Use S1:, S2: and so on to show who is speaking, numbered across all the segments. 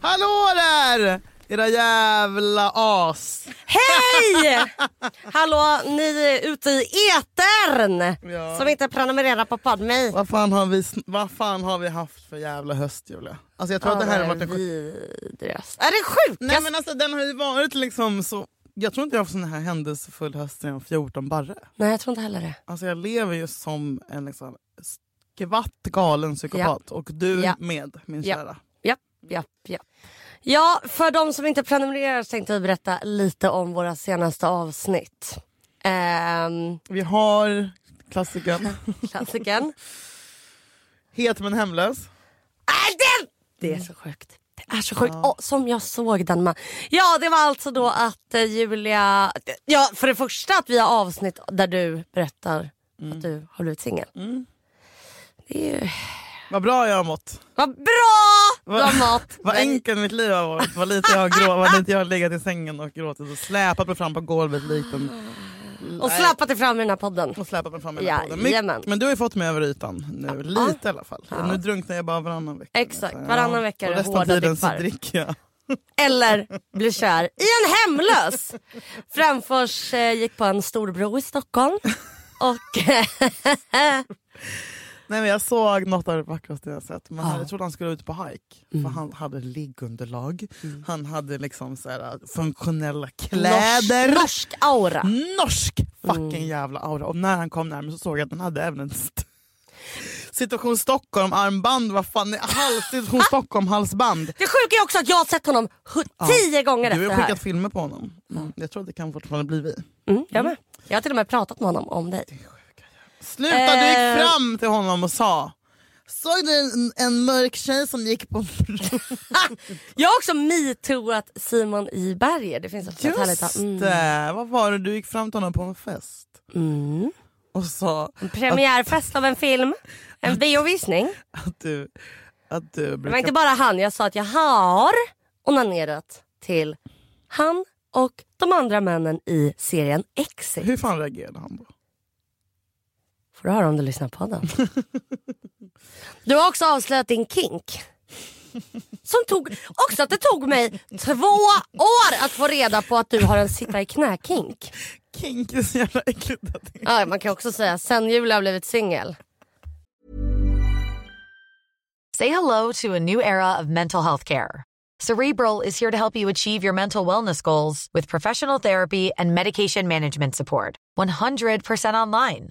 S1: Hallå där! Era jävla as.
S2: Hej! Hallå, ni är ute i etern
S1: Ja.
S2: som inte prenumererar på Podmi.
S1: Vad fan, har vi, sn- vad fan har vi haft för jävla höst Julia? Alltså jag tror att det här har varit en sjuk-
S2: vidrigast. Är det sjukast?
S1: Nej men alltså den har ju varit liksom så... Jag tror inte jag har haft sån här händelsefull höst sedan 14 barre.
S2: Nej, jag tror inte heller det.
S1: Alltså jag lever ju som en liksom skvatt galen psykopat. Och du
S2: Ja.
S1: med min
S2: Ja.
S1: kära.
S2: Japp, japp, japp. Ja, för de som inte prenumererar så tänkte jag berätta lite om våra senaste avsnitt. Ehm,
S1: Vi har klassikern
S2: klassikern.
S1: Het men hemlös.
S2: Äh, den! Det är så
S1: Mm.
S2: sjukt. Det är så sjukt. Åh, som jag såg den man. Ja, det var alltså då att eh, Julia... Ja, för det första att vi har avsnitt där du berättar
S1: Mm.
S2: att du har blivit singel. Det är ju...
S1: Vad bra jag har mått.
S2: Vad bra du har mått.
S1: Vad
S2: Men-
S1: enkelt mitt liv har varit. Vad lite jag har, grå, vad lite jag har legat i sängen och gråtit och släpat mig fram på golvet likt en...
S2: Och slappat dig fram i den här podden.
S1: Och släpat mig fram i ja,
S2: Jajamän.
S1: Men du har ju fått mig över ytan nu. Lite i alla fall. Nu drunknar jag bara varannan vecka.
S2: Exakt,
S1: nästan.
S2: varannan vecka är
S1: Och
S2: det
S1: resten av
S2: hårda
S1: tiden så
S2: dippar.
S1: dricker jag.
S2: Eller blir kär i en hemlös. Framförs eh, gick på en stor bro i Stockholm. Och eh,
S1: Nej, men jag såg något av det vackraste jag sett. Men
S2: Ja. Mm.
S1: Jag trodde han skulle ut på hike. För han hade liggunderlag. Han hade liksom så här, funktionella kläder.
S2: norsk, norsk aura.
S1: Mm. Norsk fucking
S2: Mm.
S1: jävla aura. Och när han kom närmare så såg jag att han hade även en st- Situation Stockholm-armband. Vad fan, nej, hals, Situation Stockholm-halsband.
S2: Det sjuka är också att jag har sett honom hu- tio gånger
S1: Du
S2: efter
S1: har
S2: det här.
S1: skickat filmer på honom. Mm. Jag tror att det kan fortfarande bli vi.
S2: Mm, jag med. Jag har till och med pratat med honom om dig.
S1: Sluta, du
S2: Eh.
S1: gick fram till honom och sa Såg du en, en mörk tjej som gick på
S2: Jag har också metooat Simon i Berger. Det finns också ett härligt
S1: Just det! Vad var det du gick fram till honom på en fest
S2: Mm.
S1: och sa
S2: Premiärfest av en film. En biovisning.
S1: att du, att du
S2: Det var
S1: brukar...
S2: inte bara han. Jag sa att jag har onanerat till han och de andra männen i serien Exit.
S1: Hur fan reagerade han då?
S2: Får du höra om du lyssnar på den. Du har också avslöjat din kink. Som tog, också att det tog mig två år att få reda på att du har en sitta i knä-kink.
S1: Kink, det är så jävla äckligt. att det-
S2: Ja, man kan också säga sen Julia har blivit singel.
S3: Say hello to a new era of mental health care. Cerebral is here to help you achieve your mental wellness goals with professional therapy and medication management support. 100% online.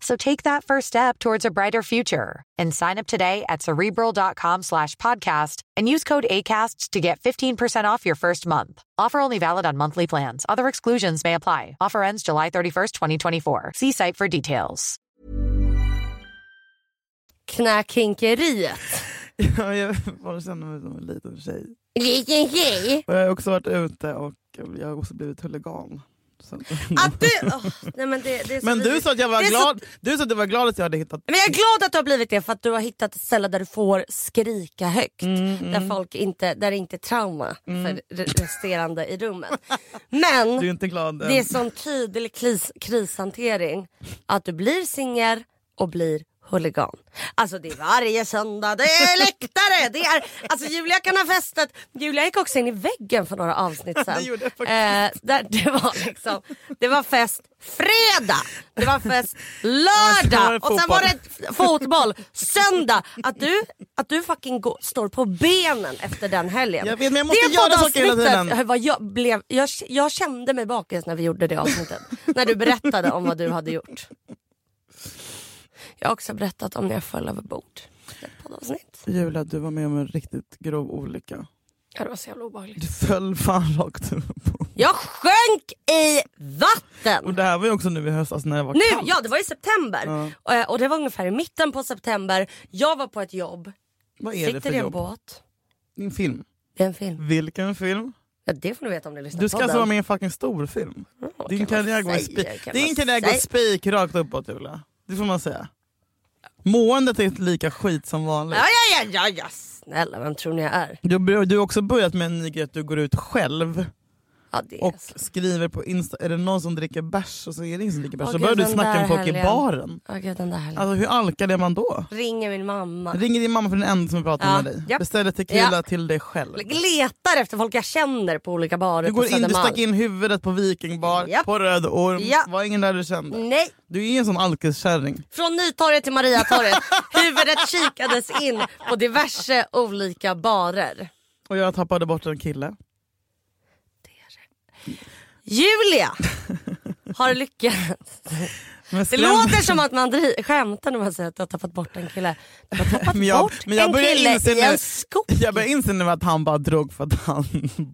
S3: So take that first step towards a brighter future and sign up today at cerebral.com slash podcast and use code ACAST to get 15% off your first month. Offer only valid on monthly plans. Other exclusions may apply. Offer ends July 31st, 2024. See site for details.
S2: Knä-kinkeriet.
S1: Ja, Jag bara känner mig som en liten tjej.
S2: Liten tjej.
S1: Och jag har också varit ute och jag har också blivit huligan. Så...
S2: Att du... åh, nej men det, det är så
S1: Men du
S2: vidrigt.
S1: sa att jag var
S2: Det är så-
S1: glad Du sa att du var glad att jag hade hittat...
S2: Men jag är glad att du har blivit det för att du har hittat ett ställe där du får skrika högt.
S1: Mm,
S2: Där, folk inte, där det inte är trauma för re- resterande i rummet. Men
S1: Du är inte glad än.
S2: det är sån tydlig kris, krishantering att du blir singel och blir huligan. Alltså det är varje söndag, det är läktare! Det är, alltså Julia kan ha festat. Julia gick också in i väggen för några avsnitt sen.
S1: Det gjorde jag faktiskt.
S2: Eh, där, det, var liksom, det var fest fredag, det var fest
S1: sen var
S2: lördag
S1: det
S2: och sen var det
S1: fotboll.
S2: f- fotboll söndag. Att du, att du fucking går, står på benen efter den helgen.
S1: Jag vet, men jag måste
S2: det
S1: göra saker hela
S2: poddavsnittet
S1: tiden.
S2: var jag, blev, jag, jag kände mig bakis när vi gjorde det avsnittet. när du berättade om vad du hade gjort. Jag har också berättat om när jag föll över bord. Ett poddavsnitt.
S1: Julia, du var med om en riktigt grov olycka.
S2: Ja, det var så jävla obehagligt.
S1: Du föll fan rakt upp.
S2: Jag sjönk i
S1: Och
S2: vatten!
S1: det här var ju också nu i höstas när det var
S2: Nu,
S1: kallt.
S2: ja det var i september. Och, eh, Och det var ungefär i mitten på september. Jag var på ett jobb,
S1: Vad är det
S2: sitter
S1: för
S2: i en
S1: jobb?
S2: båt.
S1: Din film.
S2: Det är en film.
S1: Vilken film?
S2: Ja, det får du veta om du lyssnar
S1: Du
S2: på
S1: ska
S2: den.
S1: alltså vara med i en fucking storfilm. Din
S2: kan man
S1: karriär går
S2: säga,
S1: spik-
S2: kan
S1: Din
S2: man
S1: karriär går
S2: säga.
S1: spik rakt uppåt Julia. Det får man säga. Måendet är lika skit som vanligt.
S2: Ja, ja, ja, ja, ja. Snälla, vem tror ni jag är?
S1: Du, har- du har också börjat med en ny grej att du går ut själv
S2: Ja, det är
S1: och
S2: så.
S1: skriver på Insta. Är det någon som dricker bärs och så är det ingen som dricker bärs.
S2: Åh,
S1: Så
S2: gud,
S1: börjar du
S2: den
S1: snacka
S2: där
S1: med folk i
S2: helgen.
S1: baren.
S2: Åh, gud, den där helgen.
S1: Alltså hur alkad är man då?
S2: Ringer min mamma.
S1: Ringer din mamma för den enda som pratar
S2: Ja,
S1: med dig.
S2: ja.
S1: Beställer tequila
S2: Ja.
S1: till dig själv.
S2: Letar efter folk jag känner på olika barer
S1: Du, går
S2: på
S1: in, du
S2: Södermalm.
S1: stack in huvudet på Vikingbar,
S2: Japp.
S1: på Röd Orm.
S2: Ja. Mm.
S1: Var ingen där du kände.
S2: Nej,
S1: Du är ju en sån alkiskärring.
S2: från Nytorget till Mariatorget. Huvudet kikades in på diverse olika barer.
S1: Och jag tappade bort en kille.
S2: Julia har lyckats.
S1: Men
S2: Det
S1: skräm-
S2: låter som att man dri- skämtar när man säger att du har tappat bort en kille. Du har tappat
S1: Men jag-
S2: bort
S1: men jag
S2: en
S1: börjar
S2: kille
S1: inse
S2: i
S1: nu-
S2: en skog.
S1: Jag börjar inse nu att han bara drog för att han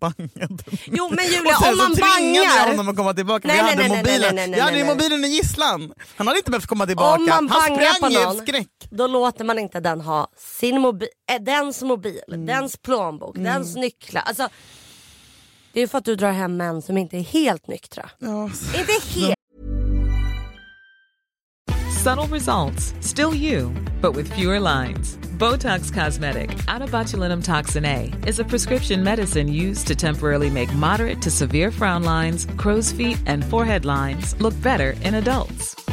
S1: bangade mig.
S2: Jo men
S1: Och
S2: Julia
S1: sen
S2: om
S1: så
S2: man
S1: tvingade jag honom
S2: bangar.
S1: att komma tillbaka.
S2: Nej,
S1: jag
S2: nej,
S1: hade
S2: nej, nej,
S1: mobilen.
S2: nej, nej, nej,
S1: jag hade ju
S2: nej, nej.
S1: mobilen i gisslan. Han hade inte behövt komma tillbaka.
S2: Om man
S1: han
S2: bangar på
S1: sprang i
S2: någon.
S1: skräck.
S2: Då låter man inte den ha sin mobi- äh, dens mobil, dens plånbok, dens nycklar. Alltså, det är ju för att du drar hem män som inte är helt nyktra.
S1: Ja.
S2: Inte helt.
S4: Subtle results, still you, but with fewer lines. Botox Cosmetic, out of botulinum toxin A, is a prescription medicine used to temporarily make moderate to severe frown lines, crow's feet, and forehead lines look better in adults.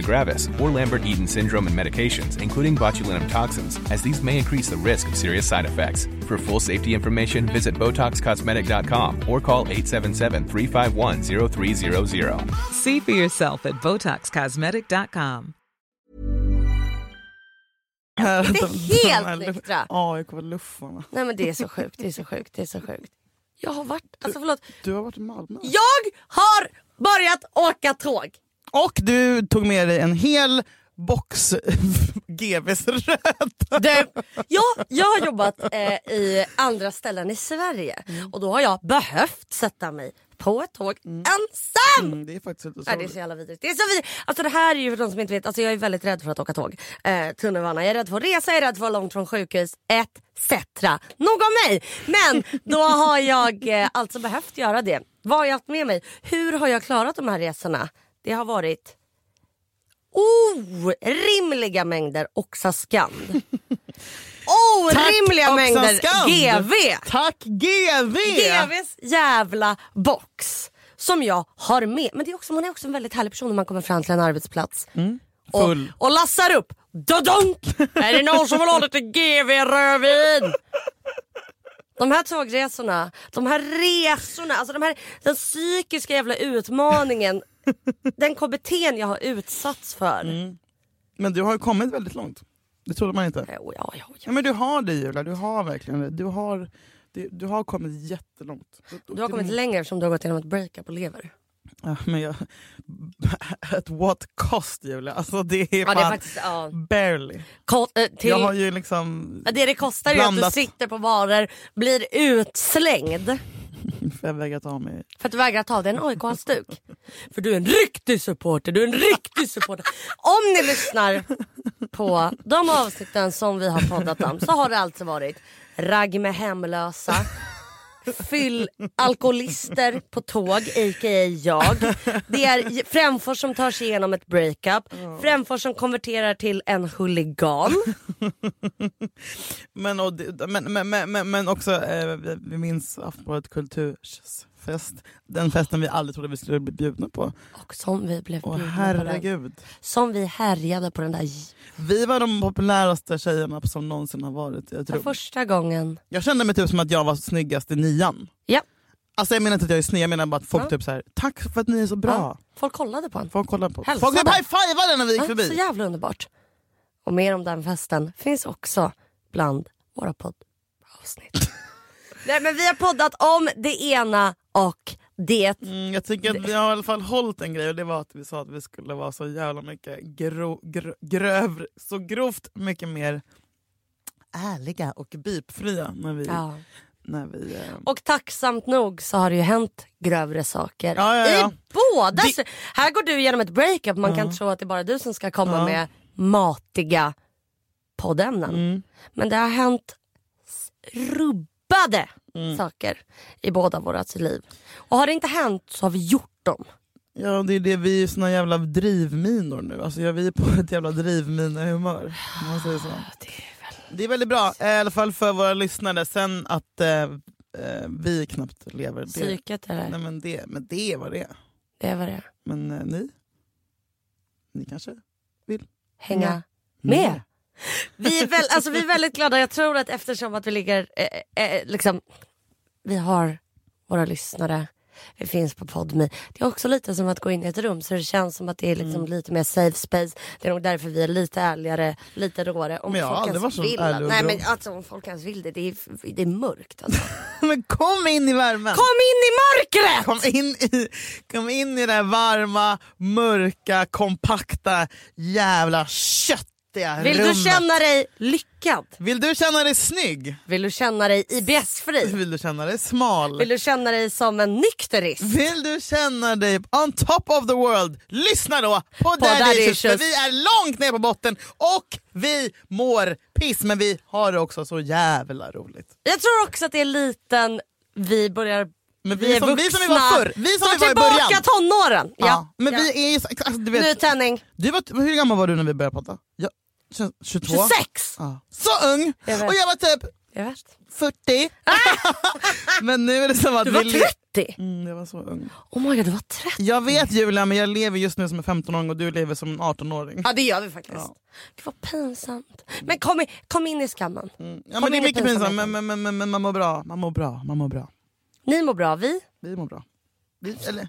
S5: gravis, or Lambert-Eaton syndrome and medications including botulinum toxins, as these may increase the risk of serious side effects. For full safety information, visit BotoxCosmetic.com or call 877-351-0300.
S4: See for yourself at BotoxCosmetic.com.
S2: Inte helt nyktra.
S1: AIK var luffarna.
S2: Nej men det är så sjukt, det är så sjukt, det är så sjukt. Jag har varit, alltså förlåt.
S1: Du har varit i Malmö.
S2: Jag har börjat åka tåg.
S1: Och du tog med dig en hel box GVs röd.
S2: Du, ja, jag har jobbat eh, i andra ställen i Sverige och då har jag behövt sätta mig på ett tåg ensam.
S1: Det är faktiskt inte
S2: Ja, det är så jävla vidrigt. Det, är så vidrigt. Alltså, det här är ju för de som inte vet, alltså, jag är väldigt rädd för att åka tåg. Eh, tunnelbana, jag är rädd för att resa, jag är rädd för att vara långt från sjukhus etc. Nog om mig! Men då har jag eh, alltså behövt göra det. Vad har jag haft med mig? Hur har jag klarat de här resorna? Det har varit orimliga mängder Oxascand. Orimliga mängder GV.
S1: Tack GV!
S2: GVs jävla box. Som jag har med. Men det är också, man är också en väldigt härlig person när man kommer fram till en arbetsplats. Och,
S1: Mm. full.
S2: och lassar upp. Dodonk! är det någon som vill ha lite GV rödvin? De här tågresorna, de här resorna, alltså de här, den psykiska jävla utmaningen. den KBT'n jag har utsatts för.
S1: Mm. Men du har ju kommit väldigt långt. Det trodde man inte.
S2: Jo, Eh, oh, ja, ja,
S1: Ja,
S2: ja.
S1: men du har det Julia, du har verkligen det. Du har, du, du har kommit jättelångt. Mm.
S2: Du har kommit längre eftersom du har gått igenom ett breakup och lever.
S1: Ja, men jag, at what cost Julia? Alltså det är
S2: Ja,
S1: fan
S2: det är faktiskt, ja.
S1: barely.
S2: Ko- eh, till-
S1: Jag har ju liksom,
S2: Ja, Det det kostar ju att du
S1: Blandat.
S2: sitter på varor, blir utslängd
S1: för jag vägrar ta mig.
S2: för att du vägrar ta dig en AIK-halsduk. För du är en riktig supporter, du är en riktig supporter. Om ni lyssnar på de avsnitten som vi har poddat om så har det alltså varit ragg med hemlösa, fyll alkoholister på tåg, a.k.a. jag. Det är Främfors som tar sig igenom ett breakup, Främfors som konverterar till en huligan.
S1: Men, och, det- men, men, men, men, men också, eh, vi- vi minns Aftonbladet kulturfest. Den festen vi aldrig trodde vi skulle bli bjudna på.
S2: Och som vi blev
S1: Och
S2: bjudna på den.
S1: herregud.
S2: Som vi härjade på den där j-
S1: Vi var de populäraste tjejerna som någonsin har varit i ett rum.
S2: första gången.
S1: Jag kände mig typ som att jag var snyggast i nian.
S2: Ja.
S1: Alltså jag menar inte att jag är sned, jag menar bara att folk
S2: Ja.
S1: typ så här, tack för att ni är så bra.
S2: Ja, folk kollade på en.
S1: Folk kollade på
S2: Hälsade.
S1: Folk typ high-fivade när vi gick
S2: Ja, så
S1: förbi.
S2: jävla underbart. Och mer om den festen finns också bland våra poddavsnitt. Nej, men vi har poddat om det ena och det.
S1: Mm, jag tycker att vi har i alla fall hållit en grej och det var att vi sa att vi skulle vara så jävla mycket gro, gro, grövre, så grovt mycket mer ärliga och bipfria när vi...
S2: Ja.
S1: När vi eh,
S2: Och tacksamt nog så har det ju hänt grövre saker.
S1: Ja, ja, ja.
S2: I båda.
S1: Det-
S2: Här går du igenom ett breakup. Man kan tro att det är bara du som ska komma med matiga poddämnen.
S1: Mm.
S2: Men det har hänt s- rubbade
S1: Mm.
S2: saker i båda våra liv. Och har det inte hänt så har vi gjort dem.
S1: ja, det är det, vi är ju såna jävla drivminor nu. Alltså, ja, vi är på ett jävla drivminehumör. om Man säger så. Det är väldigt bra, eh, i alla fall för våra lyssnare. Sen att eh, eh, vi knappt lever. Det,
S2: Psyket är det.
S1: nej, men det, men det var det är.
S2: Det var det.
S1: Men eh, ni? Ni kanske?
S2: Hänga
S1: Ja.
S2: med. Vi är, väl, alltså, vi är väldigt glada. Jag tror att eftersom att vi ligger, eh, eh, liksom, vi har våra lyssnare, vi finns på Podme. Det är också lite som att gå in i ett rum så det känns som att det är liksom
S1: Mm.
S2: lite mer safe space. Det är nog därför vi är lite ärligare, lite råare. Om
S1: Men jag har
S2: folk
S1: aldrig
S2: ens
S1: varit så
S2: vill.
S1: ärlig och
S2: Nej
S1: rå.
S2: men alltså om folk ens vill det, det är, det är mörkt alltså.
S1: Men kom in i värmen!
S2: Kom in i mörkret!
S1: Kom in i, kom in i det här varma, mörka, kompakta, jävla köttiga
S2: Vill
S1: rummet.
S2: du känna dig lyckad?
S1: Vill du känna dig snygg?
S2: Vill du känna dig IBS-fri?
S1: Vill du känna dig smal?
S2: Vill du känna dig som en nykterist?
S1: Vill du känna dig on top of the world? Lyssna då på, Daddy,
S2: Daddy
S1: Issues, för
S2: Issues.
S1: vi är långt ner på botten och vi mår piss men vi har det också så jävla roligt.
S2: Jag tror också att det är liten vi börjar
S1: Men vi
S2: vi är
S1: som- vi
S2: vuxna.
S1: som vi var förr. Vi som
S2: Tar
S1: vi var i
S2: tillbaka
S1: början.
S2: tonåren. Ja.
S1: Men
S2: Ja.
S1: vi är ju så, alltså, du
S2: Nu
S1: vet,
S2: tändning.
S1: du var, hur gammal var du när vi började prata? Jag, 22?
S2: 26.
S1: Ja. Så ung!
S2: Jag vet.
S1: och jag var typ
S2: Jag vet.
S1: 40. men nu är det som att
S2: Du var
S1: vi... le-
S2: 30.
S1: Mm, jag var så ung.
S2: Oh my god, du var 30.
S1: Jag vet Julia men jag lever just nu som en 15-åring och du lever som en 18-åring.
S2: Ja det gör vi faktiskt.
S1: Ja.
S2: Det var pinsamt. Men kom, i, kom in i skammen.
S1: Mm. Ja,
S2: Kom
S1: men det är
S2: in i
S1: mycket pinsamt men,
S2: pinsamheten.
S1: men, men, men, men man mår bra. Man mår bra. Man mår bra.
S2: Ni mår bra, vi,
S1: Vi mår bra. Vi, eller,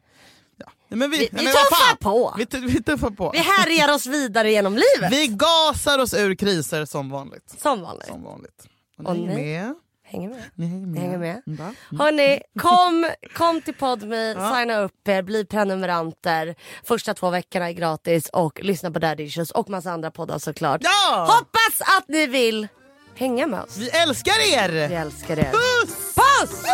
S1: ja. Nej, men vi,
S2: vi,
S1: nej, men
S2: vi
S1: vad
S2: tuffar
S1: fan.
S2: på.
S1: Vi, tu- vi tuffar på.
S2: Vi härjar oss vidare genom livet.
S1: Vi gasar oss ur kriser som vanligt.
S2: Som vanligt.
S1: Som vanligt.
S2: Och
S1: Och ni är
S2: ni?
S1: med.
S2: Hänger med.
S1: Ni hänger med.
S2: Hänger med.
S1: Va?
S2: Hörni, kom, kom till Podme, signa upp er, bli prenumeranter. Första två veckorna är gratis och lyssna på Daddy Issues och massa andra poddar såklart.
S1: Ja!
S2: Hoppas att ni vill hänga med oss.
S1: Vi älskar er!
S2: Vi älskar er.
S1: Puss!
S2: Puss!